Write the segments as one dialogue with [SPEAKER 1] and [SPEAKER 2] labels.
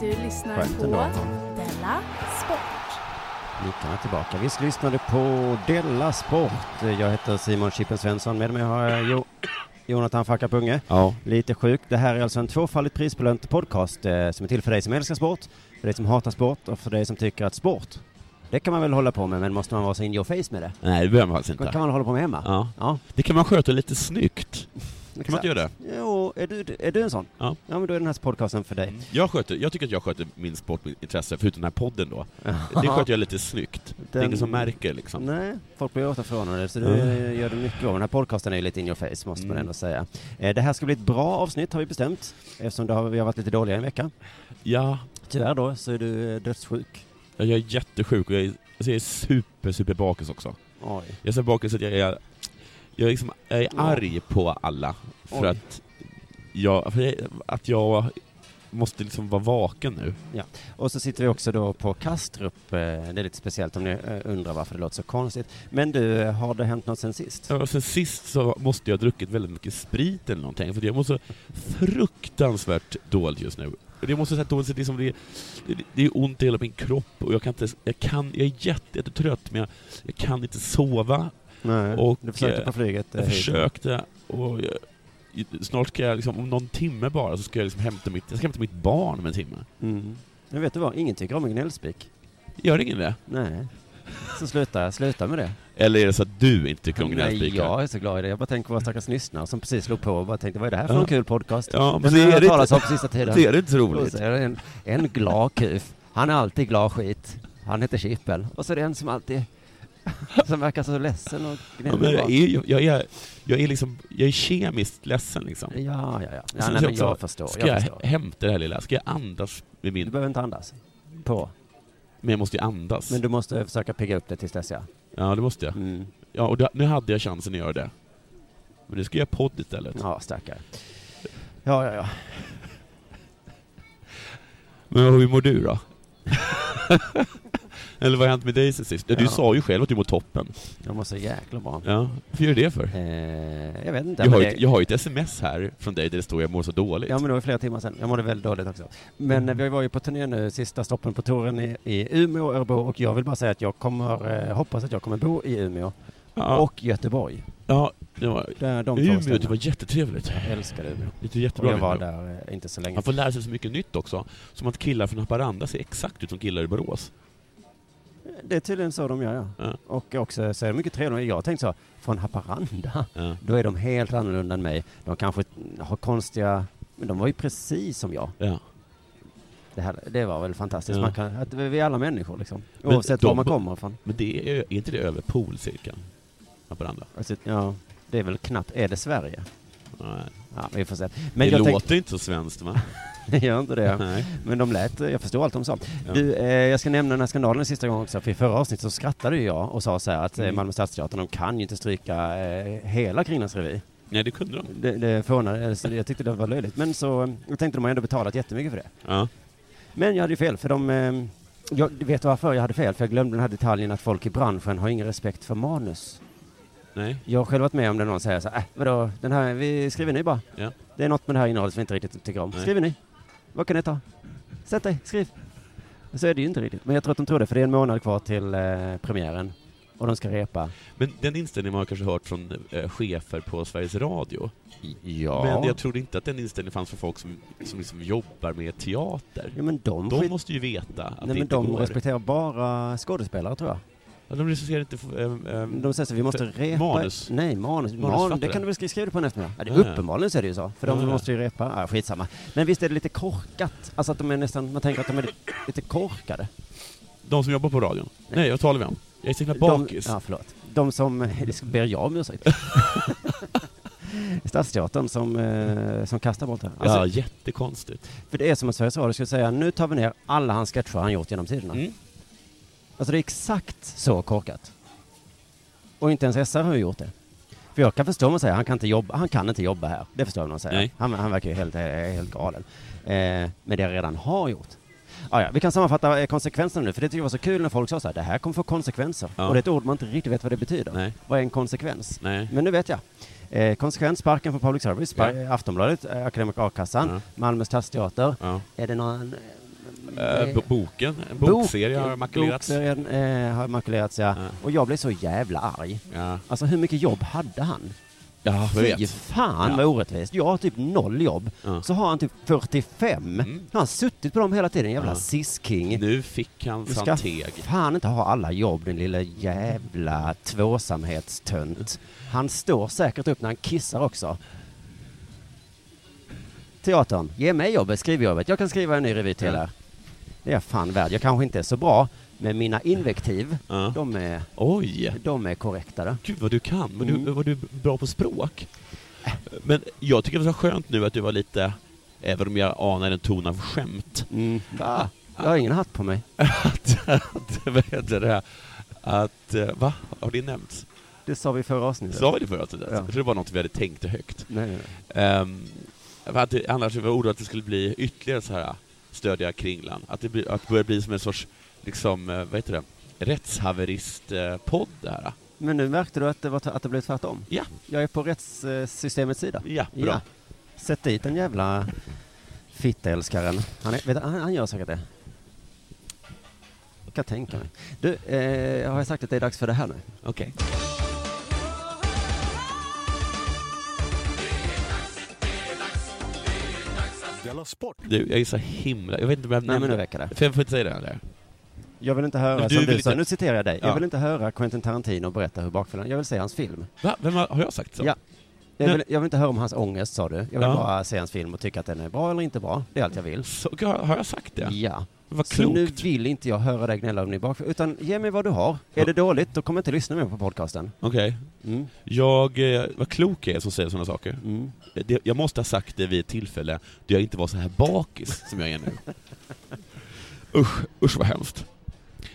[SPEAKER 1] Du lyssnar
[SPEAKER 2] Skönt
[SPEAKER 1] på
[SPEAKER 2] ändå.
[SPEAKER 1] Della Sport.
[SPEAKER 2] Mickarna är tillbaka. Visst lyssnade på Della Sport. Jag heter Simon Chippen Svensson. Med mig har jag jo Jonathan Fackapunge.
[SPEAKER 3] Ja.
[SPEAKER 2] Lite sjuk. Det här är alltså en tvåfaldigt prisbelönt podcast eh, som är till för dig som älskar sport, för dig som hatar sport och för dig som tycker att sport, det kan man väl hålla på med, men måste man vara så in your face med det?
[SPEAKER 3] Nej, det behöver man faktiskt
[SPEAKER 2] Kan
[SPEAKER 3] inte.
[SPEAKER 2] man hålla på med hemma?
[SPEAKER 3] Ja.
[SPEAKER 2] ja
[SPEAKER 3] Det kan man sköta lite snyggt. Kan man
[SPEAKER 2] exakt.
[SPEAKER 3] inte göra det?
[SPEAKER 2] Jo, är du, är du en sån?
[SPEAKER 3] Ja. Mm.
[SPEAKER 2] Ja, men då är den här podcasten för dig.
[SPEAKER 3] Jag, sköter, jag tycker att jag sköter min sportintresse, förutom den här podden då. Det sköter jag lite snyggt. Det
[SPEAKER 2] Den-
[SPEAKER 3] är ingen som märker liksom.
[SPEAKER 2] Nej, folk blir återförvånade så du eh, gör det mycket bra. Den här podcasten är ju lite in your face måste man ändå säga. Eh, Det här ska bli ett bra avsnitt har vi bestämt eftersom det har, vi har varit lite dåliga i en vecka.
[SPEAKER 3] Ja,
[SPEAKER 2] Tyvärr då så är du eh, dödssjuk.
[SPEAKER 3] jag är jättesjuk och jag är, alltså, jag är super, super bakis också.
[SPEAKER 2] Oj.
[SPEAKER 3] Jag är så bakis att jag är, jag är, liksom, jag är arg på alla för
[SPEAKER 2] Oj.
[SPEAKER 3] att jag, för jag- att jag måste liksom vara vaken nu.
[SPEAKER 2] Och så sitter vi också då på Kastrup. eh, Det är lite speciellt om ni eh, undrar varför det låter så konstigt. Men du, eh, har det hänt något sen sist?
[SPEAKER 3] Ja, Och sen sist så måste jag ha druckit väldigt mycket sprit eller någonting, för jag mår så fruktansvärt dåligt just nu. Jag måste säga dåligt, så liksom det, det, det är ont i hela min kropp och jag kan inte, jag kan, jag är jätte, jättetrött men jag, jag kan inte sova.
[SPEAKER 2] Nej.
[SPEAKER 3] och,
[SPEAKER 2] du försökte
[SPEAKER 3] eh,
[SPEAKER 2] på flyget? eh,
[SPEAKER 3] Jag
[SPEAKER 2] hit.
[SPEAKER 3] försökte och jag, snart ska jag liksom, om någon timme bara, så ska jag liksom hämta mitt, jag ska hämta mitt barn om en timme.
[SPEAKER 2] Mm. Men vet du vad, ingen tycker om en gnällspik.
[SPEAKER 3] Gör ingen det?
[SPEAKER 2] Nej. Så sluta, sluta med det.
[SPEAKER 3] Eller är det så att du inte tycker om
[SPEAKER 2] Nej,
[SPEAKER 3] gnällspikar?
[SPEAKER 2] jag är så glad i det. Jag bara tänker på våra stackars lyssnare som precis slog på och bara tänkte vad är det här för
[SPEAKER 3] Ja.
[SPEAKER 2] en kul podcast?
[SPEAKER 3] Ja, men
[SPEAKER 2] som
[SPEAKER 3] det
[SPEAKER 2] jag
[SPEAKER 3] är
[SPEAKER 2] har
[SPEAKER 3] det
[SPEAKER 2] talat
[SPEAKER 3] inte.
[SPEAKER 2] om sista tiden.
[SPEAKER 3] Det är inte så
[SPEAKER 2] Och
[SPEAKER 3] roligt.
[SPEAKER 2] så är det en, en glad kuf. Han är alltid glad skit. Han heter Chippel. Och så är det en som alltid som verkar så ledsen och
[SPEAKER 3] Ja, men
[SPEAKER 2] gnällig.
[SPEAKER 3] jag, är, ju- jag, är, jag är liksom, jag är kemiskt ledsen liksom.
[SPEAKER 2] ja, ja, ja. ja
[SPEAKER 3] Sen
[SPEAKER 2] nej,
[SPEAKER 3] så
[SPEAKER 2] men jag
[SPEAKER 3] också,
[SPEAKER 2] förstår.
[SPEAKER 3] Ska
[SPEAKER 2] Jag
[SPEAKER 3] jag,
[SPEAKER 2] förstår.
[SPEAKER 3] hämta det här lilla? Ska jag andas
[SPEAKER 2] Du
[SPEAKER 3] med min...
[SPEAKER 2] behöver inte andas. På.
[SPEAKER 3] Men jag måste ju andas.
[SPEAKER 2] Men du måste försöka pigga upp det tills dess ja.
[SPEAKER 3] Ja, det måste jag.
[SPEAKER 2] Mm.
[SPEAKER 3] Ja, och det, nu hade jag chansen att göra det. Men nu ska jag göra podd istället.
[SPEAKER 2] Ja, stackare. Ja, ja, ja.
[SPEAKER 3] Men hur mår du då? Eller vad har hänt med dig sen sist? Ja, du
[SPEAKER 2] Ja.
[SPEAKER 3] sa ju själv att du mår toppen.
[SPEAKER 2] Jag mår så jäkla bra.
[SPEAKER 3] Ja, varför gör du det för?
[SPEAKER 2] Eh, jag vet inte.
[SPEAKER 3] Jag
[SPEAKER 2] men
[SPEAKER 3] har, ju
[SPEAKER 2] det-
[SPEAKER 3] ett, jag har ju ett sms här från dig där det står jag mår så dåligt.
[SPEAKER 2] Ja, men det var ju flera timmar sedan. Jag mådde väldigt dåligt också.
[SPEAKER 3] Mm.
[SPEAKER 2] Men eh, vi var ju på turné nu, sista stoppen på touren i, i Umeå, Örebro och jag vill bara säga att jag kommer, eh, hoppas att jag kommer bo i Umeå
[SPEAKER 3] ja,
[SPEAKER 2] och Göteborg.
[SPEAKER 3] ja, det var,
[SPEAKER 2] Där de två
[SPEAKER 3] Umeå, det
[SPEAKER 2] ställena.
[SPEAKER 3] var jättetrevligt.
[SPEAKER 2] Jag älskar Umeå.
[SPEAKER 3] Det är
[SPEAKER 2] Och
[SPEAKER 3] jättebra
[SPEAKER 2] jag var
[SPEAKER 3] Umeå.
[SPEAKER 2] där eh, inte så länge.
[SPEAKER 3] Man får lära sig så mycket nytt också. Som att killar från Haparanda ser exakt ut som killar i Borås.
[SPEAKER 2] Det är tydligen så de gör, ja.
[SPEAKER 3] Ja.
[SPEAKER 2] Och också så är de mycket trevliga. Jag tänkte så, från Haparanda,
[SPEAKER 3] Ja.
[SPEAKER 2] då är de helt annorlunda än mig. De kanske har konstiga, men de var ju precis som jag.
[SPEAKER 3] Ja.
[SPEAKER 2] Det, här, det var väl fantastiskt.
[SPEAKER 3] Ja.
[SPEAKER 2] Man kan, att vi vi är alla människor liksom.
[SPEAKER 3] Men
[SPEAKER 2] Oavsett
[SPEAKER 3] de-
[SPEAKER 2] var man kommer ifrån.
[SPEAKER 3] Men det är, är inte det över polcirkeln? Haparanda?
[SPEAKER 2] Alltså, ja, det är väl knappt, är det Sverige?
[SPEAKER 3] Nej.
[SPEAKER 2] Ja, vi får se.
[SPEAKER 3] Det
[SPEAKER 2] Men jag
[SPEAKER 3] låter
[SPEAKER 2] tänkte,
[SPEAKER 3] inte så svenskt va?
[SPEAKER 2] gör inte det.
[SPEAKER 3] Nej.
[SPEAKER 2] Men de lät, jag förstår allt de sa.
[SPEAKER 3] Ja.
[SPEAKER 2] Du, eh, jag ska nämna den här skandalen sista gången också, för i förra avsnittet så skrattade ju jag och sa så här att eh,
[SPEAKER 3] Mm.
[SPEAKER 2] Malmö Stadsteater, de kan ju inte stryka eh, hela Kringlands revy.
[SPEAKER 3] Nej, det kunde de.
[SPEAKER 2] Det, det förvånade, eller så jag tyckte det var löjligt. Men så, eh, jag tänkte de har ändå betalat jättemycket för det.
[SPEAKER 3] Ja.
[SPEAKER 2] Men jag hade ju fel, för de, eh, jag vet varför jag hade fel, för jag glömde den här detaljen att folk i branschen har ingen respekt för manus.
[SPEAKER 3] Nej.
[SPEAKER 2] Jag har själv varit med om det någon säger så här, äh, vadå, den här, vi skriver ny bara.
[SPEAKER 3] Ja.
[SPEAKER 2] Det är något med det här innehållet som vi inte riktigt tycker om.
[SPEAKER 3] Nej.
[SPEAKER 2] Skriver ny. Vad kan det ta? Sätt dig, skriv. Så är det ju inte riktigt. Men jag tror att de tror det, för det är en månad kvar till eh, premiären. Och de ska repa.
[SPEAKER 3] Men den inställningen har man kanske hört från eh, chefer på Sveriges Radio.
[SPEAKER 2] Ja.
[SPEAKER 3] Men jag trodde inte att den inställningen fanns för folk som, som liksom jobbar med teater.
[SPEAKER 2] ja men de,
[SPEAKER 3] De
[SPEAKER 2] skit...
[SPEAKER 3] måste ju veta att
[SPEAKER 2] Nej,
[SPEAKER 3] det
[SPEAKER 2] men
[SPEAKER 3] inte
[SPEAKER 2] de
[SPEAKER 3] går.
[SPEAKER 2] respekterar bara skådespelare, tror jag.
[SPEAKER 3] Ja, de recenserar inte... f- ehm, ehm,
[SPEAKER 2] De säger så vi måste
[SPEAKER 3] För-
[SPEAKER 2] repa...
[SPEAKER 3] manus?
[SPEAKER 2] Nej, manus. Man, det
[SPEAKER 3] Manusförfattare?
[SPEAKER 2] kan du väl skriva det på en eftermiddag? Ja, det,
[SPEAKER 3] Ja, ja.
[SPEAKER 2] Uppenbarligen så är det ju så, för
[SPEAKER 3] Ja,
[SPEAKER 2] de
[SPEAKER 3] ja.
[SPEAKER 2] måste ju repa. Ja, skitsamma. Men visst är det lite korkat? Alltså att de är nästan, man tänker att de är lite korkade.
[SPEAKER 3] de som jobbar på radion. Nej, jag talar vi om. Jag är så himla bakis.
[SPEAKER 2] De, ja, förlåt. De som, det ber jag om ursäkt. Stadsteatern som, eh, som kastar bort det här. Alltså,
[SPEAKER 3] ja, jättekonstigt.
[SPEAKER 2] För det är som att Sveriges Radio skulle säga, nu tar vi ner alla hans sketcher han gjort genom tiderna.
[SPEAKER 3] Mm.
[SPEAKER 2] Alltså det är exakt så korkat. Och inte ens SR har ju gjort det. För jag kan förstå om man säger han kan inte jobba, han kan inte jobba här. Det förstår jag om någon säger.
[SPEAKER 3] Nej.
[SPEAKER 2] Han, han verkar ju helt, eh, helt galen. Eh, men det jag redan har gjort. Ah, ja, vi kan sammanfatta eh, konsekvenserna nu, för det tycker jag var så kul när folk sa så här, det här kommer få konsekvenser.
[SPEAKER 3] Ja.
[SPEAKER 2] Och det är ett ord man inte riktigt vet vad det betyder.
[SPEAKER 3] Nej.
[SPEAKER 2] Vad är en konsekvens?
[SPEAKER 3] Nej.
[SPEAKER 2] Men nu vet jag. Eh, konsekvens, sparken från public service,
[SPEAKER 3] Ja.
[SPEAKER 2] spa- Aftonbladet, eh, Akademisk A-kassan,
[SPEAKER 3] Ja.
[SPEAKER 2] Malmös stadsteater.
[SPEAKER 3] Ja.
[SPEAKER 2] Är det någon...
[SPEAKER 3] Eh,
[SPEAKER 2] eh,
[SPEAKER 3] bo- Boken, en bokserie har makulerats.
[SPEAKER 2] Bokserien eh, har makulerats, ja.
[SPEAKER 3] Ja.
[SPEAKER 2] Och jag blev så jävla arg.
[SPEAKER 3] Ja,
[SPEAKER 2] Alltså hur mycket jobb hade han?
[SPEAKER 3] ja jag
[SPEAKER 2] Fy
[SPEAKER 3] vet.
[SPEAKER 2] fan
[SPEAKER 3] Ja.
[SPEAKER 2] vad orättvist. Jag har typ noll jobb.
[SPEAKER 3] Ja.
[SPEAKER 2] Så har han typ 45.
[SPEAKER 3] Mm.
[SPEAKER 2] Han har suttit på dem hela tiden, jävla
[SPEAKER 3] Ja.
[SPEAKER 2] sisking.
[SPEAKER 3] Nu fick han
[SPEAKER 2] Du ska
[SPEAKER 3] Santeg.
[SPEAKER 2] fan inte ha alla jobb din lilla jävla tvåsamhetstönt. Han står säkert upp när han kissar också. Teatern, ge mig jobbet, skriv jobbet. Jag kan skriva en ny revy till
[SPEAKER 3] Ja.
[SPEAKER 2] er. Det är jag fan värd. Jag kanske inte är så bra, men mina invektiv,
[SPEAKER 3] Ja.
[SPEAKER 2] de, är,
[SPEAKER 3] Oj!
[SPEAKER 2] de är korrektare.
[SPEAKER 3] Gud vad du kan, vad du,
[SPEAKER 2] Mm.
[SPEAKER 3] vad du är bra på språk. Men jag tycker det var så skönt nu att du var lite, även om jag anar en ton av skämt, Ah.
[SPEAKER 2] Mm. Va? Jag har ingen hatt på mig.
[SPEAKER 3] att, att vad heter det, här? att, eh, va? Har det nämnts?
[SPEAKER 2] Det sa vi i förra avsnittet.
[SPEAKER 3] Sa vi det förra avsnittet?
[SPEAKER 2] Ja.
[SPEAKER 3] Jag tror det var något vi hade tänkt högt.
[SPEAKER 2] Nej, nej, nej.
[SPEAKER 3] Um, för att det, annars var jag orolig att det skulle bli ytterligare så här stödja Kringlan. Att det, blir, att det börjar bli som en sorts, liksom, eh, vad heter det, rättshaverist-podd det här.
[SPEAKER 2] Men nu märkte du att det, var, att det blev tvärtom.
[SPEAKER 3] Ja,
[SPEAKER 2] Jag är på rättssystemets sida.
[SPEAKER 3] ja, bra.
[SPEAKER 2] Sätt dit den jävla fittälskaren. Han, är, vet, du, han, han gör säkert det. Jag kan tänka mig. Du, eh, har jag sagt att det är dags för det här nu?
[SPEAKER 3] Okej.
[SPEAKER 4] Della Sport.
[SPEAKER 3] Du, jag är så himla... Jag vet inte om jag
[SPEAKER 2] Nej, men nu
[SPEAKER 3] nämnde...
[SPEAKER 2] räcker det.
[SPEAKER 3] För jag får inte säga det eller?
[SPEAKER 2] Jag vill inte höra,
[SPEAKER 3] Men du
[SPEAKER 2] som du
[SPEAKER 3] vill
[SPEAKER 2] sa,
[SPEAKER 3] inte-
[SPEAKER 2] nu citerar jag dig.
[SPEAKER 3] Ja.
[SPEAKER 2] Jag vill inte höra Quentin Tarantino berätta hur bakfyllan... Jag vill se hans film.
[SPEAKER 3] Va? Vem har, har jag sagt så?
[SPEAKER 2] Ja. Jag
[SPEAKER 3] Nu-
[SPEAKER 2] vill, jag vill inte höra om hans ångest, sa du. Jag vill
[SPEAKER 3] Ja.
[SPEAKER 2] bara se hans film och tycka att den är bra eller inte bra. Det är allt jag vill.
[SPEAKER 3] så har, har jag sagt det?
[SPEAKER 2] Ja.
[SPEAKER 3] Vad
[SPEAKER 2] Så nu
[SPEAKER 3] klokt.
[SPEAKER 2] vill inte jag höra dig gnälla om din bakfylla, utan ge mig vad du har. Är
[SPEAKER 3] Ja.
[SPEAKER 2] det dåligt, då kommer jag inte lyssna mer på podcasten.
[SPEAKER 3] Okej.
[SPEAKER 2] Mm.
[SPEAKER 3] Jag... Eh, vad klok jag är som säger sådana saker.
[SPEAKER 2] Mm.
[SPEAKER 3] Det, jag måste ha sagt det vid ett tillfälle då jag inte var så här bakis som jag är nu. Usch, usch vad hemskt.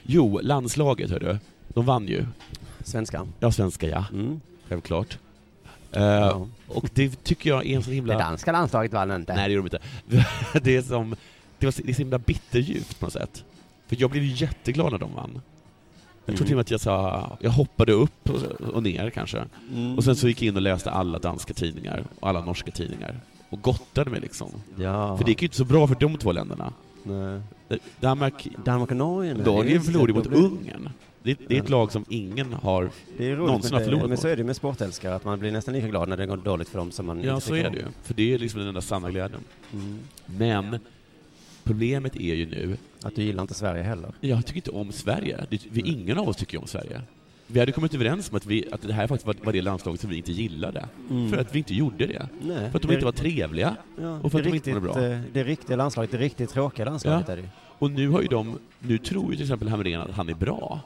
[SPEAKER 3] Jo, landslaget hördu. De vann ju.
[SPEAKER 2] Svenska.
[SPEAKER 3] Ja, svenska ja.
[SPEAKER 2] Mm.
[SPEAKER 3] Självklart. Eh,
[SPEAKER 2] Ja.
[SPEAKER 3] Och det tycker jag är en sån
[SPEAKER 2] Det
[SPEAKER 3] himla...
[SPEAKER 2] danska landslaget vann inte.
[SPEAKER 3] Nej, det gjorde de inte. Det är som, det var så, det är så himla bitterljuvt på något sätt. För jag blev ju jätteglad när de vann. Jag tror till och med att jag sa, jag hoppade upp och, och ner kanske.
[SPEAKER 2] Mm.
[SPEAKER 3] Och sen så gick jag in och läste alla danska tidningar och alla norska tidningar. Och gottade mig liksom.
[SPEAKER 2] Ja.
[SPEAKER 3] För det gick ju inte så bra för de två länderna.
[SPEAKER 2] Nej.
[SPEAKER 3] Danmark,
[SPEAKER 2] Eh, Danmark och Norge nu.
[SPEAKER 3] Norge
[SPEAKER 2] Just det,
[SPEAKER 3] förlorade
[SPEAKER 2] då
[SPEAKER 3] mot
[SPEAKER 2] blir-
[SPEAKER 3] Ungern. Det, det är ett lag som ingen har...
[SPEAKER 2] Det är roligt
[SPEAKER 3] någonsin har
[SPEAKER 2] med det,
[SPEAKER 3] förlorat
[SPEAKER 2] Men så
[SPEAKER 3] mot.
[SPEAKER 2] är det med sportälskare, att man blir nästan lika glad när det går dåligt för dem som man
[SPEAKER 3] Ja,
[SPEAKER 2] inte
[SPEAKER 3] så
[SPEAKER 2] tycker
[SPEAKER 3] är
[SPEAKER 2] om.
[SPEAKER 3] det ju. För det är liksom den enda sanna glädjen.
[SPEAKER 2] Mm.
[SPEAKER 3] Men problemet är ju nu
[SPEAKER 2] Att du gillar inte Sverige heller.
[SPEAKER 3] Jag tycker inte om Sverige. Det, vi,
[SPEAKER 2] Mm.
[SPEAKER 3] ingen av oss tycker ju om Sverige. Vi hade kommit överens om att, vi, att det här faktiskt var, var det landslaget som vi inte gillade. För att vi inte gjorde det.
[SPEAKER 2] Mm. Nej.
[SPEAKER 3] För att de
[SPEAKER 2] det-
[SPEAKER 3] inte var trevliga.
[SPEAKER 2] Ja,
[SPEAKER 3] och för att
[SPEAKER 2] det
[SPEAKER 3] de inte
[SPEAKER 2] riktigt,
[SPEAKER 3] mådde bra.
[SPEAKER 2] eh, Det riktiga landslaget, det riktigt tråkiga landslaget
[SPEAKER 3] Ja.
[SPEAKER 2] är det ju.
[SPEAKER 3] Och nu har ju de, nu tror ju till exempel Hamrén att han är bra.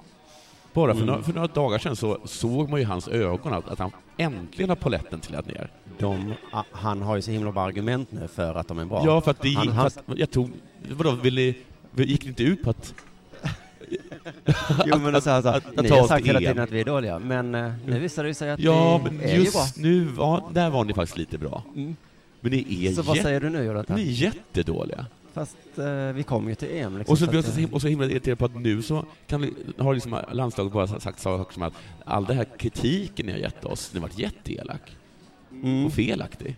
[SPEAKER 3] Bara
[SPEAKER 2] Mm.
[SPEAKER 3] för, några, för några dagar sedan så såg man ju i hans ögon att, att han äntligen har poletten trillat ner.
[SPEAKER 2] De, ah, han har ju så himla bra argument nu för att de är bra.
[SPEAKER 3] Ja, för att det gick,
[SPEAKER 2] Han- han-
[SPEAKER 3] för att jag tog, vadå, vill ni, gick det inte ut på att,
[SPEAKER 2] Jo, men alltså, alltså,
[SPEAKER 3] att- att
[SPEAKER 2] ni
[SPEAKER 3] ta
[SPEAKER 2] har
[SPEAKER 3] oss
[SPEAKER 2] sagt
[SPEAKER 3] till
[SPEAKER 2] hela
[SPEAKER 3] EM.
[SPEAKER 2] tiden att vi är dåliga, men eh, nu visar det ju sig att
[SPEAKER 3] ja
[SPEAKER 2] vi
[SPEAKER 3] men
[SPEAKER 2] är ju bra.
[SPEAKER 3] just nu, var, där var ni faktiskt lite bra.
[SPEAKER 2] Mm.
[SPEAKER 3] Men ni är,
[SPEAKER 2] Så vad
[SPEAKER 3] jätte,
[SPEAKER 2] säger du nu Jonathan?
[SPEAKER 3] ni är jättedåliga.
[SPEAKER 2] Fast eh, vi kom ju till EM liksom.
[SPEAKER 3] Och så
[SPEAKER 2] så
[SPEAKER 3] blir jag
[SPEAKER 2] att,
[SPEAKER 3] så
[SPEAKER 2] eh,
[SPEAKER 3] himla, och så himla irriterad på att nu så kan vi, har liksom landslaget bara sagt saker som att all den här kritiken ni har gett oss, den har varit jätteelak
[SPEAKER 2] mm.
[SPEAKER 3] och felaktig.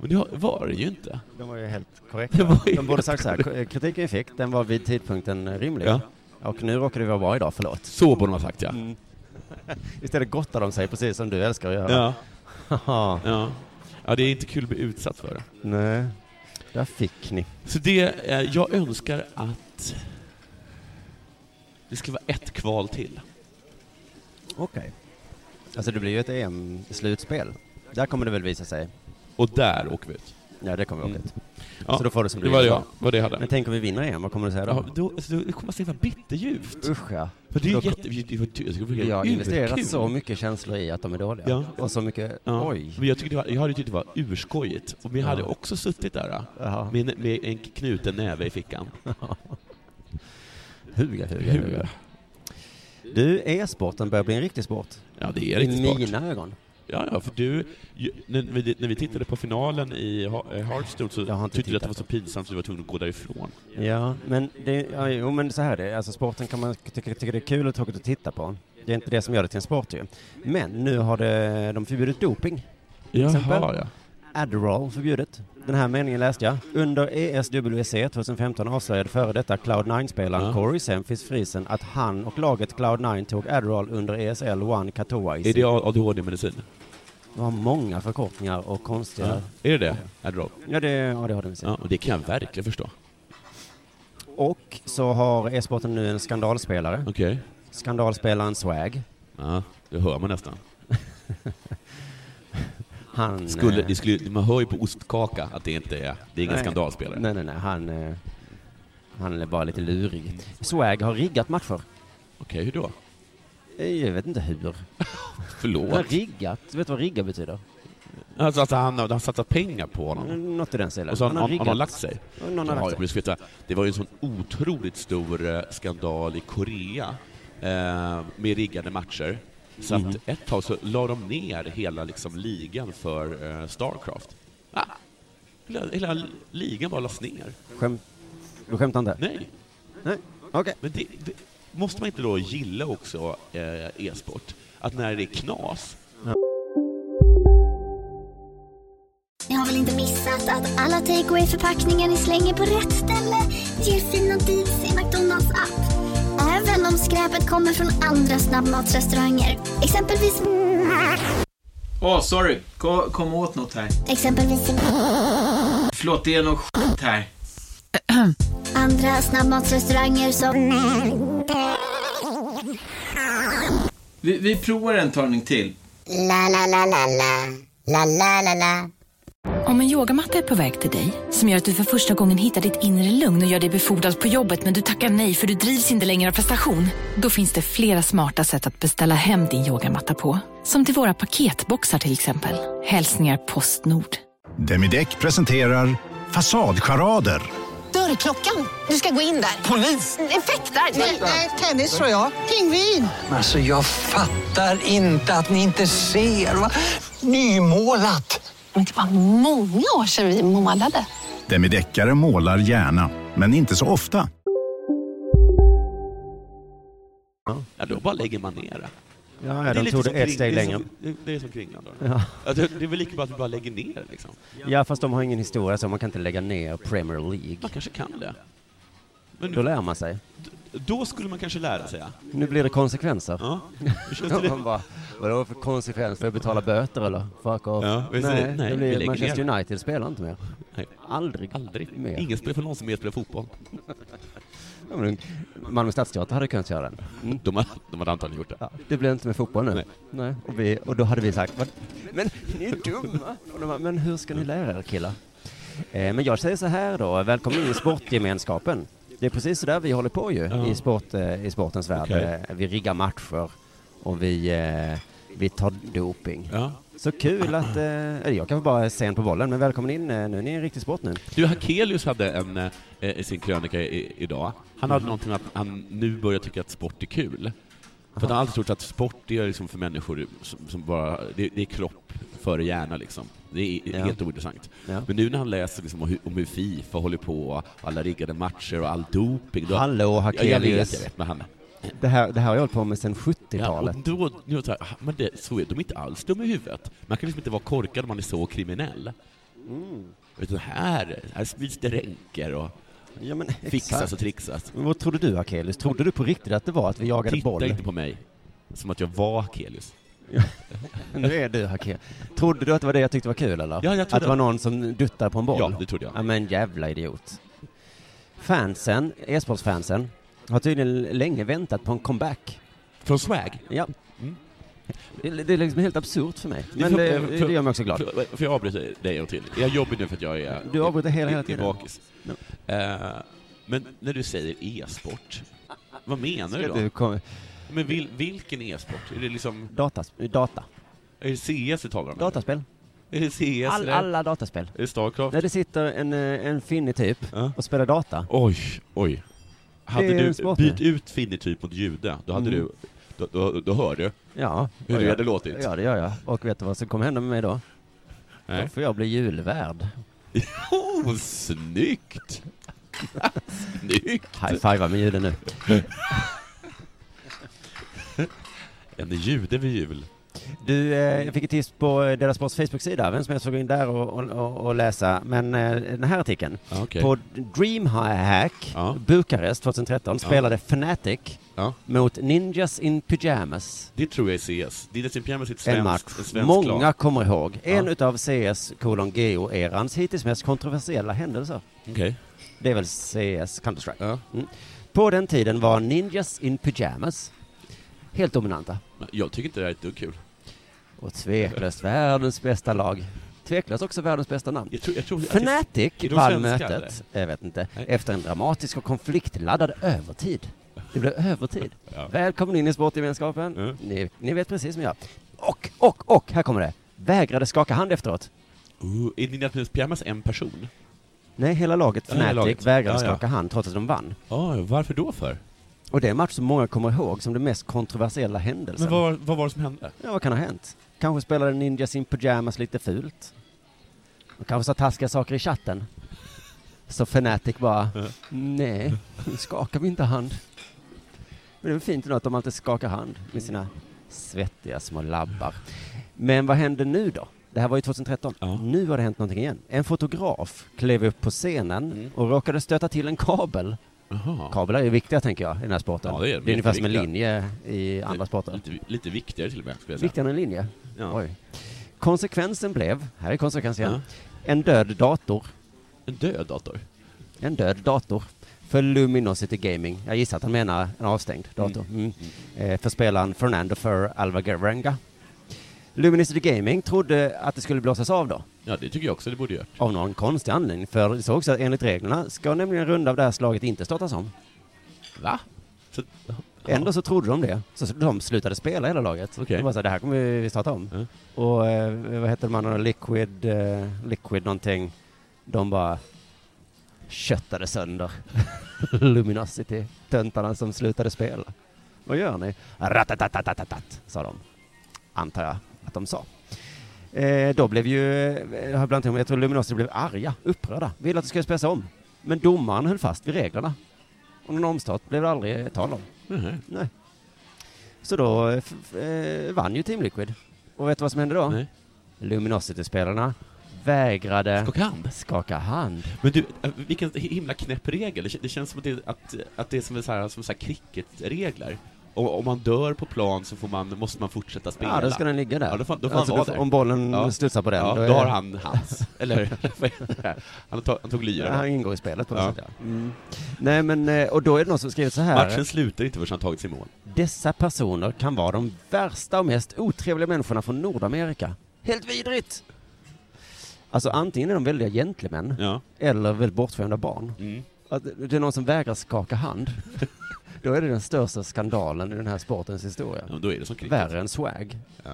[SPEAKER 3] Men det har- var det ju inte.
[SPEAKER 2] De var ju helt
[SPEAKER 3] Det
[SPEAKER 2] korrekta.
[SPEAKER 3] var ju
[SPEAKER 2] De borde sagt så här, k- eh, kritiken vi fick, den var vid tidpunkten eh, rimlig.
[SPEAKER 3] Ja.
[SPEAKER 2] Och nu råkar det vara bra idag, förlåt.
[SPEAKER 3] Så borde man ha sagt ja.
[SPEAKER 2] Mm. Istället gottar de sig, precis som du älskar att göra.
[SPEAKER 3] Ja,
[SPEAKER 2] Ja.
[SPEAKER 3] ja. ja det är inte kul att bli utsatt för det.
[SPEAKER 2] Nej, där fick ni.
[SPEAKER 3] Så det, eh, jag önskar att det ska vara ett kval till.
[SPEAKER 2] Okej. Alltså det blir ju ett EM-slutspel. Där kommer det väl visa sig.
[SPEAKER 3] Och där åker vi ut.
[SPEAKER 2] Ja, det kommer vi åka
[SPEAKER 3] Mm.
[SPEAKER 2] ut.
[SPEAKER 3] Ja,
[SPEAKER 2] Så då får du som
[SPEAKER 3] Det
[SPEAKER 2] du
[SPEAKER 3] var det
[SPEAKER 2] vill.
[SPEAKER 3] jag, var det jag hade.
[SPEAKER 2] Men tänk om vi vinner EM, vad kommer du säga då?
[SPEAKER 3] Ja, då, alltså, då kommer man se vad bitterljuvt.
[SPEAKER 2] Usch ja.
[SPEAKER 3] För det är
[SPEAKER 2] Då-
[SPEAKER 3] ju jätte... det var- det var-
[SPEAKER 2] Jag har investerat
[SPEAKER 3] urkul.
[SPEAKER 2] så mycket känslor i att de är dåliga.
[SPEAKER 3] Ja.
[SPEAKER 2] Och så mycket,
[SPEAKER 3] Ja.
[SPEAKER 2] oj.
[SPEAKER 3] Men jag, tyckte det var, jag hade tyckt det var urskojigt. Och vi hade också suttit där
[SPEAKER 2] Jaha.
[SPEAKER 3] med, en- med en knuten näve i fickan.
[SPEAKER 2] Huga, huga, huga. Du, e-sporten börjar bli en riktig sport.
[SPEAKER 3] Ja, det är riktigt
[SPEAKER 2] I
[SPEAKER 3] smart.
[SPEAKER 2] mina ögon.
[SPEAKER 3] Ja, ja, för du, ju- när vi, när vi tittade på finalen i Ha- eh, Hearthstone så
[SPEAKER 2] Jag har inte
[SPEAKER 3] tyckte du att det var
[SPEAKER 2] tittat.
[SPEAKER 3] så pinsamt så du var tvungen att gå därifrån.
[SPEAKER 2] Ja, men det, ja, jo, men så här är det. Alltså sporten kan man tycka, tycka det är kul och tråkigt att titta på. Det är inte det som gör det till en sport ju. Men nu har det, de förbjudit doping. exempel.
[SPEAKER 3] Jaha, ja.
[SPEAKER 2] Adderall förbjudet. Den här meningen läste jag. Under E ESWC 2015 avslöjade före detta Cloud9-spelaren
[SPEAKER 3] Ja.
[SPEAKER 2] Corey Semfis Friesen att han och laget Cloud9 tog Adderall under ESL One Katowice.
[SPEAKER 3] Är det ADHD-medicin?
[SPEAKER 2] Det var många förkortningar och konstiga... Ja,
[SPEAKER 3] Är det det? Adderall?
[SPEAKER 2] det, ja, det har de sett.
[SPEAKER 3] Ja, och det kan jag verkligen förstå.
[SPEAKER 2] Och så har e-sporten nu en skandalspelare.
[SPEAKER 3] Okej.
[SPEAKER 2] Skandalspelaren Swag.
[SPEAKER 3] Ja, det hör man nästan.
[SPEAKER 2] Han...
[SPEAKER 3] Skulle,
[SPEAKER 2] eh,
[SPEAKER 3] det skulle, man hör ju på ostkaka att det inte är, det är ingen
[SPEAKER 2] Nej.
[SPEAKER 3] skandalspelare.
[SPEAKER 2] Nej, nej, nej. Han, eh, han är bara lite lurig. Swag har riggat matcher.
[SPEAKER 3] Okej, hur då?
[SPEAKER 2] Eh, Jag vet inte hur. Han har
[SPEAKER 3] Förlåt.
[SPEAKER 2] riggat. Vet du vad rigga betyder?
[SPEAKER 3] Alltså, alltså han, har- han satsar pengar på honom.
[SPEAKER 2] Något i den stilen.
[SPEAKER 3] Och så har han, han, han har
[SPEAKER 2] Mm. riggat.
[SPEAKER 3] lagt sig.
[SPEAKER 2] Och Någon har
[SPEAKER 3] Ja,
[SPEAKER 2] lagt
[SPEAKER 3] jag
[SPEAKER 2] sig.
[SPEAKER 3] vill veta, det var ju en sån otroligt stor eh, skandal i Korea eh, med riggade matcher. Så
[SPEAKER 2] Mm.
[SPEAKER 3] att ett tag så la de ner hela liksom, ligan för eh, Starcraft. Ah, hela, hela ligan bara lades ner.
[SPEAKER 2] Skämt. Du skämtar inte?
[SPEAKER 3] Nej,
[SPEAKER 2] Nej. Okej.
[SPEAKER 3] men det, det måste man inte då gilla också eh, e-sport? Att när det är knas,
[SPEAKER 5] Ni har väl inte missat att alla takeaway förpackningar ni slänger på rätt ställe ger fina deals i McDonalds app. Även om skräpet kommer från andra snabbmatsrestauranger. Exempelvis...
[SPEAKER 6] Åh, sorry. Kom, kom åt något här.
[SPEAKER 5] Exempelvis...
[SPEAKER 6] Förlåt, det är något skit här.
[SPEAKER 5] Andra snabbmatsrestauranger som...
[SPEAKER 6] Vi, vi provar en talning till.
[SPEAKER 7] Om en yogamatta är på väg till dig, som gör att du för första gången hittar ditt inre lugn och gör dig befordrad på jobbet men du tackar nej för du drivs inte längre av prestation. Då finns det flera smarta sätt att beställa hem din yogamatta på. Som till våra paketboxar till exempel. Hälsningar Postnord.
[SPEAKER 8] Demideck presenterar Fasadcharader.
[SPEAKER 7] Dörrklockan. Du ska gå in där. Polis? Effektar? Nej, tennis tror jag. Pingvin.
[SPEAKER 9] Alltså jag fattar inte att ni inte ser. Va? Nymålat!
[SPEAKER 7] Men det var många år sedan vi målade.
[SPEAKER 8] Demideckare målar gärna, men inte så ofta.
[SPEAKER 3] ja, då bara lägger man ner det.
[SPEAKER 2] Ja, ja, de tog det ett steg längre.
[SPEAKER 3] Det är, som, det är som Kringland då.
[SPEAKER 2] Ja.
[SPEAKER 3] Ja, det, det är väl lika bra att vi bara lägger ner det liksom.
[SPEAKER 2] ja, fast de har ingen historia så man kan inte lägga ner Premier League.
[SPEAKER 3] Man kanske kan det.
[SPEAKER 2] Då lär man sig.
[SPEAKER 3] Då skulle man kanske lära sig. ja.
[SPEAKER 2] Nu blir det konsekvenser.
[SPEAKER 3] Ja. Hur känns det?
[SPEAKER 2] Man bara, vadå för konsekvens? Får jag betala böter eller? Fuck off.
[SPEAKER 3] Ja, visst är det-
[SPEAKER 2] nej,
[SPEAKER 3] nej,
[SPEAKER 2] det
[SPEAKER 3] vi
[SPEAKER 2] blir
[SPEAKER 3] lägger
[SPEAKER 2] Manchester
[SPEAKER 3] ner.
[SPEAKER 2] United spelar inte mer.
[SPEAKER 3] Nej,
[SPEAKER 2] Aldrig.
[SPEAKER 3] aldrig.
[SPEAKER 2] Mer.
[SPEAKER 3] Ingen spelar för någon som mer spelar fotboll.
[SPEAKER 2] Ja, men Malmö Stadsteater hade kunnat göra den.
[SPEAKER 3] De, har, de hade antagligen gjort det.
[SPEAKER 2] Mm. Ja, det blir inte med fotboll nu.
[SPEAKER 3] Nej.
[SPEAKER 2] Nej. Och, vi, och då hade vi sagt, "Vad? men ni är dumma. Och de bara, men hur ska ni lära er killar? Eh, men jag säger så här då, välkommen in i sportgemenskapen. Det är precis så där vi håller på ju i, sport, eh, i sportens värld.
[SPEAKER 3] Okej.
[SPEAKER 2] Eh, vi riggar matcher och vi, eh, vi tar doping.
[SPEAKER 3] Ja.
[SPEAKER 2] Så kul att, eh, eller jag kanske bara är sen på bollen, men välkommen in eh, nu. Ni är en riktig sport nu.
[SPEAKER 3] Du, Hakelius hade en, eh, i sin krönika i, idag, han
[SPEAKER 2] Mhm.
[SPEAKER 3] hade någonting att han nu börjar tycka att sport är kul. För att han har alltid trott att sport är liksom för människor som, som bara, det, det är kropp före hjärna liksom. Det är
[SPEAKER 2] Ja.
[SPEAKER 3] helt ointressant.
[SPEAKER 2] Ja.
[SPEAKER 3] Men nu när han läser liksom om, hur, om hur Fifa håller på, och alla riggade matcher och all doping. Då,
[SPEAKER 2] Hallå
[SPEAKER 3] Ja, jag vet, jag
[SPEAKER 2] Hakelius.
[SPEAKER 3] vet, men han...
[SPEAKER 2] Det här, det här har jag hållit på med sedan
[SPEAKER 3] Ja, och
[SPEAKER 2] 70-talet.
[SPEAKER 3] då, nu, är det så här, men det, så är de inte alls dumma i huvudet. Man kan liksom inte vara korkad om man är så kriminell.
[SPEAKER 2] Mm.
[SPEAKER 3] Utan här, här sprids det ränker och fixas
[SPEAKER 2] exakt.
[SPEAKER 3] och trixas.
[SPEAKER 2] Men vad trodde du Akelius? Trodde du på riktigt att det var att vi jagade
[SPEAKER 3] Titta
[SPEAKER 2] boll?
[SPEAKER 3] inte på mig som att jag var Akelius.
[SPEAKER 2] nu är du Akelius. Trodde du att det var det jag tyckte var kul eller?
[SPEAKER 3] Ja, jag
[SPEAKER 2] att
[SPEAKER 3] trodde-
[SPEAKER 2] det var någon som duttar på en boll?
[SPEAKER 3] Ja, det trodde jag.
[SPEAKER 2] Ja, men jävla idiot. Fansen, e-sportsfansen, har tydligen länge väntat på en comeback.
[SPEAKER 3] Från Swag?
[SPEAKER 2] Ja. Det, det är liksom helt absurt för mig.
[SPEAKER 3] Mm. Det eh, är
[SPEAKER 2] Men
[SPEAKER 3] för-
[SPEAKER 2] det,
[SPEAKER 3] för-
[SPEAKER 2] det gör mig också glad.
[SPEAKER 3] För, för jag avbryter dig en till. Jag jobbar nu för att jag är...
[SPEAKER 2] Du avbryter hela- hela
[SPEAKER 3] är- är
[SPEAKER 2] tiden.
[SPEAKER 3] Bakis. Eh, men när du säger e-sport, vad menar du
[SPEAKER 2] Ska
[SPEAKER 3] då?
[SPEAKER 2] du komma-
[SPEAKER 3] Men vil, vilken e-sport? Är det liksom...
[SPEAKER 2] Data. data.
[SPEAKER 3] Är det CS du talar om?
[SPEAKER 2] Dataspel.
[SPEAKER 3] Är det CS?
[SPEAKER 2] All,
[SPEAKER 3] eller?
[SPEAKER 2] alla dataspel.
[SPEAKER 3] Är det Starcraft?
[SPEAKER 2] Där det sitter en, eh, en finnig typ och spelar data.
[SPEAKER 3] Oj, oj. Hade
[SPEAKER 2] Det är
[SPEAKER 3] du
[SPEAKER 2] en sport
[SPEAKER 3] bytt
[SPEAKER 2] nu.
[SPEAKER 3] ut finnig typ mot jude, då hade
[SPEAKER 2] Mm.
[SPEAKER 3] du... Då, då, då hör du
[SPEAKER 2] Ja.
[SPEAKER 3] hur
[SPEAKER 2] Och
[SPEAKER 3] det
[SPEAKER 2] jag-
[SPEAKER 3] hade låtit.
[SPEAKER 2] Ja, det gör jag. Och vet du vad som kommer hända med mig då?
[SPEAKER 3] Nej.
[SPEAKER 2] Då får jag bli julvärd.
[SPEAKER 3] Oh, snyggt! snyggt!
[SPEAKER 2] High-fiva med juden nu.
[SPEAKER 3] En jude vid jul.
[SPEAKER 2] Du, eh, jag fick ett tips på eh, deras sports Facebook-sida. Vem som helst får gå in där och, och- och, och läsa. Men eh, den här artikeln.
[SPEAKER 3] Ja, okej.
[SPEAKER 2] På Dreamhack Bukarest 2013
[SPEAKER 3] Ja.
[SPEAKER 2] spelade Fnatic mot Ninjas in Pyjamas.
[SPEAKER 3] Det tror jag är CS. Det är dessutom Pyjamas är ett
[SPEAKER 2] en match.
[SPEAKER 3] svenskt, ett svenskt
[SPEAKER 2] Många
[SPEAKER 3] lag.
[SPEAKER 2] kommer ihåg. En utav CS kolon GO-erans hittills mest kontroversiella händelser.
[SPEAKER 3] Okej.
[SPEAKER 2] Det är väl CS, Counter-Strike. Mm. På den tiden var Ninjas in Pyjamas helt dominanta.
[SPEAKER 3] Men Jag tycker inte det här är ett dugg kul.
[SPEAKER 2] Och tveklöst världens bästa lag. Tveklöst också världens bästa namn.
[SPEAKER 3] Jag tror, jag tror, att det-
[SPEAKER 2] Fnatic
[SPEAKER 3] Är de
[SPEAKER 2] vann
[SPEAKER 3] svenska,
[SPEAKER 2] mötet,
[SPEAKER 3] eller?
[SPEAKER 2] jag vet inte, efter en dramatisk och konfliktladdad övertid. Det blev övertid.
[SPEAKER 3] Ja.
[SPEAKER 2] Välkommen in i sportgemenskapen. Ni, ni vet precis som jag. Och, och, och, här kommer det. Vägrade skaka hand efteråt.
[SPEAKER 3] Uh, är Ninja Tunis Pyjamas en person?
[SPEAKER 2] Nej, hela laget
[SPEAKER 3] Ja, hela
[SPEAKER 2] Fnatic
[SPEAKER 3] laget.
[SPEAKER 2] vägrade
[SPEAKER 3] Ja, ja.
[SPEAKER 2] skaka hand trots att de vann.
[SPEAKER 3] Ja, varför då för?
[SPEAKER 2] Och det är en match som många kommer ihåg som den mest kontroversiella händelsen.
[SPEAKER 3] Men vad, vad var det som hände?
[SPEAKER 2] Ja, vad kan ha hänt? Kanske spelade Ninja sin pyjamas lite fult. De kanske sa taskiga saker i chatten. Så Fnatic bara, nej, nu skakar vi inte hand. Men det är väl fint ändå att de alltid skakar hand med sina svettiga små labbar. Men vad hände nu då? Det här var ju 2013. Nu har det hänt någonting igen. En fotograf klev upp på scenen
[SPEAKER 3] Mm.
[SPEAKER 2] och råkade stöta till en kabel. Kablar är viktiga tänker jag i den här sporten.
[SPEAKER 3] Ja, det är de.
[SPEAKER 2] det är ungefär som en
[SPEAKER 3] Jätteviktiga.
[SPEAKER 2] linje i andra sporter.
[SPEAKER 3] Lite, lite viktigare till och med, skulle jag säga.
[SPEAKER 2] Viktigare än en linje?
[SPEAKER 3] Ja.
[SPEAKER 2] Oj. Konsekvensen blev, här är konsekvensen igen, en död dator.
[SPEAKER 3] En död dator?
[SPEAKER 2] En död dator. För Luminosity Gaming. Jag gissar att han menar en avstängd dator. Mm. Eh, för spelaren Fernando för Alvarenga. Luminosity Gaming trodde att det skulle blåsas av då.
[SPEAKER 3] Ja, det tycker jag också det borde göra.
[SPEAKER 2] Av någon konstig anledning. För det såg också att enligt reglerna ska nämligen en runda av det här slaget inte startas om.
[SPEAKER 3] Va? Så,
[SPEAKER 2] Ändå så trodde de det. Så de slutade spela hela laget. De bara så här, det här kommer vi starta om. Och eh, vad heter de andra, Liquid, eh, Liquid någonting. De bara köttade sönder Luminosity, töntarna som slutade spela. Vad gör ni? Ratatatatat, sa de. Antar jag att de sa. Eh, då blev ju, eh, jag har bland annat, jag tror Luminosity blev arga, upprörda, ville att det skulle spelas om. Men domaren höll fast vid reglerna. Och någon omstart blev det aldrig eh, tal om.
[SPEAKER 3] Mhm.
[SPEAKER 2] Nej. Så då eh, f- f- eh, vann ju Team Liquid. Och vet du vad som hände då? Luminosity-spelarna vägrade skaka
[SPEAKER 3] hand.
[SPEAKER 2] Skaka hand.
[SPEAKER 3] Men du, eh, vilken himla knäpp regel. Det kän- Det känns som att det, att, att det är som, en så här, som så här cricketregler. Om, om man dör på plan så får man, måste man fortsätta spela.
[SPEAKER 2] Ja, då ska den ligga där.
[SPEAKER 3] Ja, då får, då får
[SPEAKER 2] Alltså,
[SPEAKER 3] han
[SPEAKER 2] då
[SPEAKER 3] vara
[SPEAKER 2] får-
[SPEAKER 3] där.
[SPEAKER 2] om bollen
[SPEAKER 3] ja.
[SPEAKER 2] studsar på den,
[SPEAKER 3] Ja,
[SPEAKER 2] då
[SPEAKER 3] då,
[SPEAKER 2] är-
[SPEAKER 3] har han hans. Eller, vad heter det? han, tog, han tog lyra.
[SPEAKER 2] Han ingår i spelet på något sätt, ja. Mm. Nej men, eh, och då är det någon som skrivit så här.
[SPEAKER 3] Matchen slutar inte förrän han tagit sig i mål.
[SPEAKER 2] Dessa personer kan vara de värsta och mest otrevliga människorna från Nordamerika. Helt vidrigt! Alltså antingen är de väldiga gentlemän eller väldigt bortskämda barn. Att det är någon som vägrar skaka hand. Då är det den största skandalen i den här sportens historia.
[SPEAKER 3] Ja, då är det som cricket.
[SPEAKER 2] Värre än swag.
[SPEAKER 3] Ja.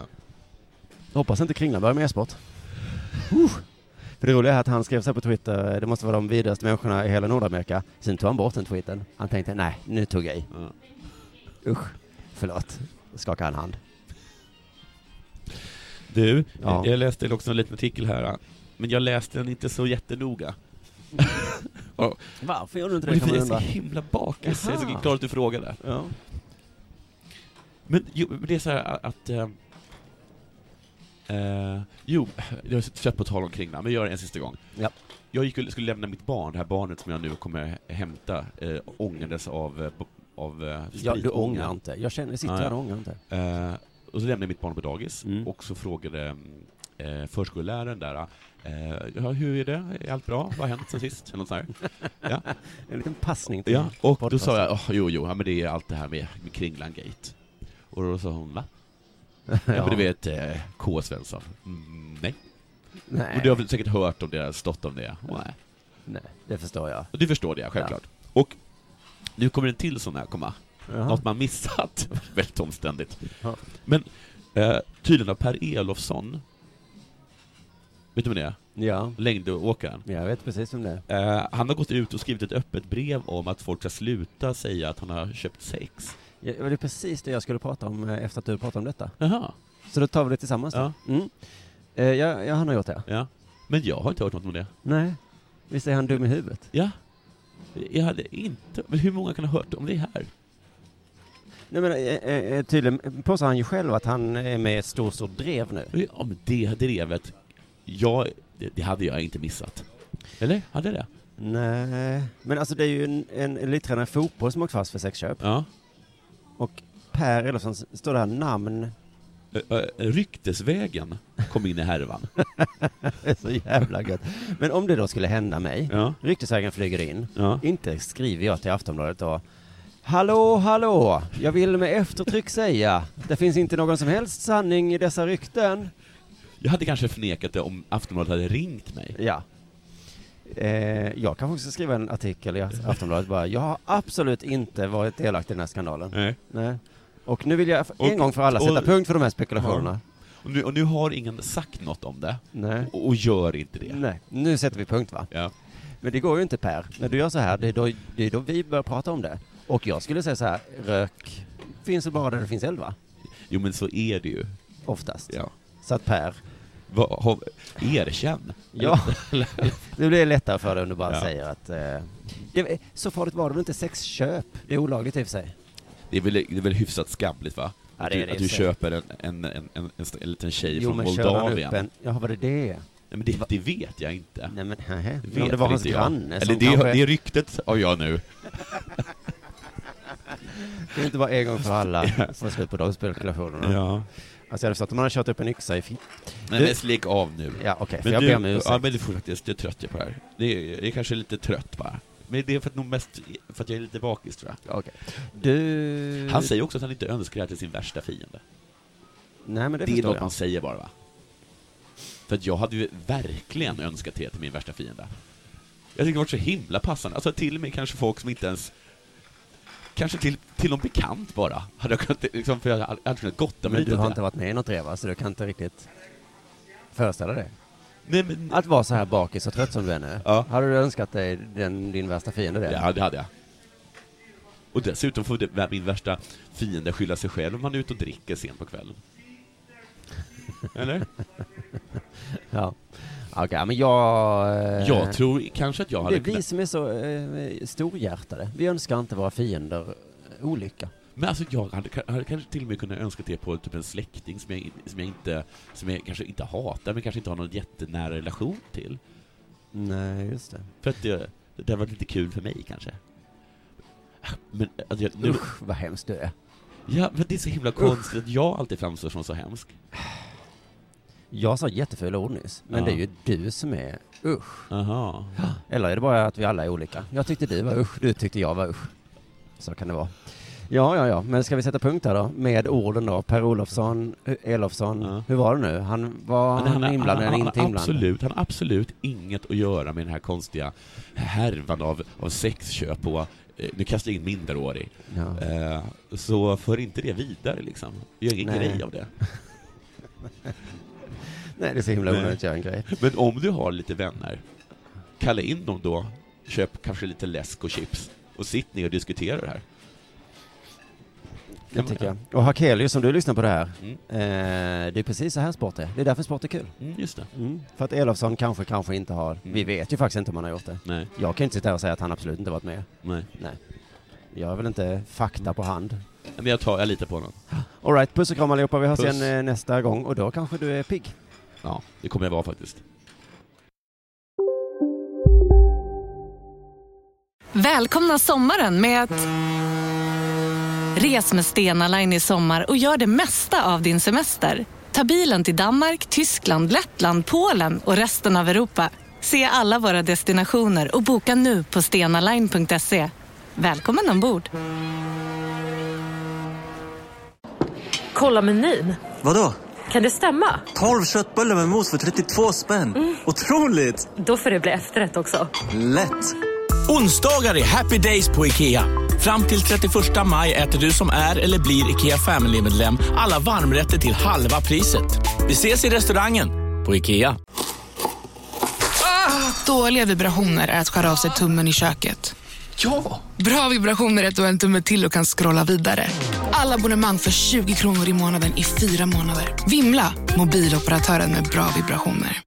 [SPEAKER 2] Hoppas inte Kringlan börjar med e-sport. Uh. För det roliga är att han skrev så här på Twitter, det måste vara de vidrigaste människorna i hela Nordamerika. Sen tog han bort den tweeten. Han tänkte, nej, nu tog jag i. Usch, förlåt. Då skakade han hand.
[SPEAKER 3] Du,
[SPEAKER 2] Ja.
[SPEAKER 3] jag läste också en liten artikel här, men jag läste den inte så jättenoga. Ja.
[SPEAKER 2] Varför gjorde du inte det,
[SPEAKER 3] Men
[SPEAKER 2] kan man
[SPEAKER 3] för Jag är så
[SPEAKER 2] undra.
[SPEAKER 3] himla bakis, jag är så
[SPEAKER 2] Jaha.
[SPEAKER 3] glad att du frågade. Men jo, men det är så här att... eh, Eh, jo, jag har trött på tal om kringlan, men jag gör det en sista gång. Jag gick och skulle lämna mitt barn, det här barnet som jag nu kommer hämta, eh, ångades av, eh, bo- av eh,
[SPEAKER 2] Ja, du
[SPEAKER 3] spritånga.
[SPEAKER 2] ångrar inte. Jag känner, jag sitter
[SPEAKER 3] Ja,
[SPEAKER 2] här
[SPEAKER 3] ja.
[SPEAKER 2] och ångrar inte.
[SPEAKER 3] Eh, och så lämnade jag mitt barn på dagis och så frågade mm, eh, förskolläraren där, eh, ja, hur är det? Är allt bra? Vad har hänt sen sist? Eller något sånt här. ja.
[SPEAKER 2] En liten passning till
[SPEAKER 3] Ja, och då sa jag, oh, jo, jo, ja, men det är allt det här med, med Kringlan Gate. Och då sa hon, va? ja, men du vet, eh, K. Svensson. Mm, nej.
[SPEAKER 2] Nej.
[SPEAKER 3] Och du har väl säkert hört om deras stått om det? Nej.
[SPEAKER 2] Nej, det förstår jag.
[SPEAKER 3] Du förstår det, självklart. Och nu kommer en till sån här komma.
[SPEAKER 2] Jaha.
[SPEAKER 3] Något man missat. Väldigt omständigt. Men eh, tydligen har Per Elofsson, vet du vem det är?
[SPEAKER 2] Ja.
[SPEAKER 3] Längdåkaren.
[SPEAKER 2] Jag vet precis om det är.
[SPEAKER 3] Eh, han har gått ut och skrivit ett öppet brev om att folk ska sluta säga att han har köpt sex.
[SPEAKER 2] Ja, Det var precis det jag skulle prata om eh, efter att du pratade om detta.
[SPEAKER 3] Jaha.
[SPEAKER 2] Så då tar vi det tillsammans då.
[SPEAKER 3] Ja.
[SPEAKER 2] Mm. Eh, ja, ja, han har gjort det.
[SPEAKER 3] Ja. Men jag har inte hört något om det.
[SPEAKER 2] Nej. Visst är han dum i huvudet?
[SPEAKER 3] Ja. Jag hade inte... Men hur många kan ha hört om det här?
[SPEAKER 2] Nej men eh, eh, eh, tydligen påstår han ju själv att han är med i ett stort, stort drev nu.
[SPEAKER 3] Ja, men det drevet, jag, det, det hade jag inte missat. Eller? Hade jag det?
[SPEAKER 2] Nej, men alltså det är ju en, en elittränare i fotboll som åkt fast för sexköp.
[SPEAKER 3] Ja.
[SPEAKER 2] Och Per Elofsson s- står det här namn.
[SPEAKER 3] Ö, ö, ryktesvägen kom in i härvan.
[SPEAKER 2] det är så jävla gött. Men om det då skulle hända mig,
[SPEAKER 3] ja.
[SPEAKER 2] ryktesvägen flyger in,
[SPEAKER 3] ja.
[SPEAKER 2] inte skriver jag till Aftonbladet då Hallå, hallå! Jag vill med eftertryck säga, det finns inte någon som helst sanning i dessa rykten.
[SPEAKER 3] Jag hade kanske förnekat det om Aftonbladet hade ringt mig.
[SPEAKER 2] Ja. Eh, jag kanske också ska skriva en artikel i Aftonbladet bara, jag har absolut inte varit delaktig i den här skandalen.
[SPEAKER 3] Nej.
[SPEAKER 2] Nej. Och nu vill jag f- en
[SPEAKER 3] Och-
[SPEAKER 2] gång för alla sätta
[SPEAKER 3] och-
[SPEAKER 2] punkt för de här spekulationerna.
[SPEAKER 3] Ja. Och, nu, och nu har ingen sagt något om det.
[SPEAKER 2] Nej.
[SPEAKER 3] Och, och gör inte det.
[SPEAKER 2] Nej, nu sätter vi punkt va?
[SPEAKER 3] Ja.
[SPEAKER 2] Men det går ju inte Per. När du gör så här, det är, då, det är då vi börjar prata om det. Och jag skulle säga så här, rök finns väl bara där det finns eld va?
[SPEAKER 3] Jo, men så är det ju.
[SPEAKER 2] Oftast.
[SPEAKER 3] Ja.
[SPEAKER 2] Så att Per,
[SPEAKER 3] Va, ha, erkänn.
[SPEAKER 2] ja,
[SPEAKER 3] Eller-
[SPEAKER 2] det blir lättare för dig om du bara
[SPEAKER 3] Ja.
[SPEAKER 2] säger att eh, det, så farligt var det väl inte sexköp? Det är olagligt i och för sig.
[SPEAKER 3] Det är väl, det är väl hyfsat skamligt, va?
[SPEAKER 2] Ja,
[SPEAKER 3] att
[SPEAKER 2] det är
[SPEAKER 3] du,
[SPEAKER 2] det
[SPEAKER 3] att
[SPEAKER 2] i
[SPEAKER 3] du
[SPEAKER 2] och för sig.
[SPEAKER 3] köper en, en, en, en, en, st- en liten tjej
[SPEAKER 2] Jo
[SPEAKER 3] från
[SPEAKER 2] men kör han upp
[SPEAKER 3] Moldavien.
[SPEAKER 2] en, jaha var det det?
[SPEAKER 3] Nej, men det, det vet jag inte.
[SPEAKER 2] Nej men hehe.
[SPEAKER 3] Det
[SPEAKER 2] Men om
[SPEAKER 3] vet
[SPEAKER 2] det var
[SPEAKER 3] väl
[SPEAKER 2] hans
[SPEAKER 3] inte jag.
[SPEAKER 2] granne som
[SPEAKER 3] Eller det,
[SPEAKER 2] kanske...
[SPEAKER 3] det ryktet har jag nu.
[SPEAKER 2] Det är inte bara en gång för alla få slut på de spekulationerna.
[SPEAKER 3] Ja.
[SPEAKER 2] Alltså jag hade förstått om man hade kört upp en yxa i fi-
[SPEAKER 3] Nej
[SPEAKER 2] Du-
[SPEAKER 3] men släck av nu.
[SPEAKER 2] Ja, okej, för
[SPEAKER 3] Men
[SPEAKER 2] jag
[SPEAKER 3] du-
[SPEAKER 2] ber om ursäkt.
[SPEAKER 3] Ja men du får faktiskt, jag är trött jag på det här. Det är, jag är kanske lite trött bara. Men det är för att, nog mest för att jag är lite bakis tror jag.
[SPEAKER 2] Okej. Du...
[SPEAKER 3] Han säger också att han inte önskar det här till sin värsta fiende.
[SPEAKER 2] Nej men det,
[SPEAKER 3] Det, är
[SPEAKER 2] förstår
[SPEAKER 3] något
[SPEAKER 2] jag.
[SPEAKER 3] man säger bara va? För att jag hade ju verkligen önskat det till min värsta fiende. Jag tycker det var så himla passande. Alltså till och med kanske folk som inte ens Kanske till, till någon bekant bara. Hade jag kunnat, liksom, för jag hade aldrig kunnat gotta mig
[SPEAKER 2] Men
[SPEAKER 3] lite
[SPEAKER 2] du
[SPEAKER 3] åt
[SPEAKER 2] har
[SPEAKER 3] det.
[SPEAKER 2] inte varit med i något reva så du kan inte riktigt föreställa dig.
[SPEAKER 3] Nej, men,
[SPEAKER 2] Att vara så här bakis och trött som du är nu.
[SPEAKER 3] Ja.
[SPEAKER 2] Hade du önskat dig den, din värsta fiende det?
[SPEAKER 3] Ja, det hade jag. Och dessutom får det, min värsta fiende skylla sig själv om han är ute och dricker sent på kvällen. Eller?
[SPEAKER 2] ja. Okej, men jag... eh,
[SPEAKER 3] Jag tror kanske att jag
[SPEAKER 2] Det
[SPEAKER 3] hade
[SPEAKER 2] är vi
[SPEAKER 3] kunnat...
[SPEAKER 2] som är så eh, storhjärtade. Vi önskar inte våra fiender eh, olycka.
[SPEAKER 3] Men alltså jag hade, ka- hade kanske till och med kunnat önska det på typ en släkting som jag, in- som jag inte... Som jag kanske inte hatar, men kanske inte har någon jättenära relation till.
[SPEAKER 2] Nej, just det.
[SPEAKER 3] För att det, det hade varit lite kul för mig kanske. Men alltså, jag, nu,
[SPEAKER 2] Usch, vad hemskt du är.
[SPEAKER 3] ja, men det är så himla konstigt att jag alltid framstår som så hemsk.
[SPEAKER 2] Jag sa jättefula ord nyss, men
[SPEAKER 3] Ja.
[SPEAKER 2] det är ju du som är usch.
[SPEAKER 3] Aha.
[SPEAKER 2] Eller är det bara att vi alla är olika? Jag tyckte du var usch, du tyckte jag var usch. Så kan det vara. Ja, ja, ja, men ska vi sätta punkt här då? Med orden då, Per Olofsson, eh, Elofsson,
[SPEAKER 3] Ja.
[SPEAKER 2] hur var det nu? Han var
[SPEAKER 3] Men
[SPEAKER 2] han inblandad eller
[SPEAKER 3] han,
[SPEAKER 2] inte
[SPEAKER 3] har
[SPEAKER 2] inblandad?
[SPEAKER 3] Absolut, han har absolut inget att göra med den här konstiga härvan av, av sexköp och eh, nu kastar jag in minderårig.
[SPEAKER 2] Ja.
[SPEAKER 3] Eh, så för inte det vidare liksom. Gör ingen
[SPEAKER 2] Nej.
[SPEAKER 3] grej av det.
[SPEAKER 2] Nej, det är så himla
[SPEAKER 3] Nej.
[SPEAKER 2] onödigt att göra en grej.
[SPEAKER 3] Men om du har lite vänner, kalla in dem då, köp kanske lite läsk och chips och sitt ner och diskutera det här.
[SPEAKER 2] Det tycker jag. Och Hakelius, som du lyssnar på det här,
[SPEAKER 3] Mm.
[SPEAKER 2] eh, det är precis så här sport är. Det är därför sport är kul.
[SPEAKER 3] Mm, just det.
[SPEAKER 2] Mm. För att Elofsson kanske, kanske inte har, vi vet ju faktiskt inte om han har gjort det.
[SPEAKER 3] Nej,
[SPEAKER 2] Jag kan ju inte sitta här och säga att han absolut inte varit med.
[SPEAKER 3] nej.
[SPEAKER 2] Jag har väl inte fakta på hand.
[SPEAKER 10] Men jag, tar, jag litar på honom.
[SPEAKER 2] Alright, puss och kram allihopa. Vi hörs
[SPEAKER 10] Puss.
[SPEAKER 2] igen eh, nästa gång och då kanske du är pigg.
[SPEAKER 10] Ja, det kommer jag vara faktiskt.
[SPEAKER 7] Välkomna sommaren med att... Res med Stena Line i sommar och gör det mesta av din semester. Ta bilen till Danmark, Tyskland, Lettland, Polen och resten av Europa. Se alla våra destinationer och boka nu på stenaline.se. Välkommen ombord!
[SPEAKER 11] Kolla menyn.
[SPEAKER 12] Vadå?
[SPEAKER 11] Kan det stämma?
[SPEAKER 12] 12 köttbullar med mos för 32 spänn. Otroligt!
[SPEAKER 11] Då får det bli efterrätt också.
[SPEAKER 12] Lätt!
[SPEAKER 3] Onsdagar är happy days på IKEA. Fram till 31 maj äter du som är eller blir IKEA Family-medlem alla varmrätter till halva priset. Vi ses i restaurangen på IKEA.
[SPEAKER 13] Dåliga vibrationer är att skära av sig tummen i köket. Ja! Bra vibrationer är att du har en tumme till och kan scrolla vidare. Alla abonnemang för 20 kronor i månaden i fyra månader. Vimla! Mobiloperatören med bra vibrationer.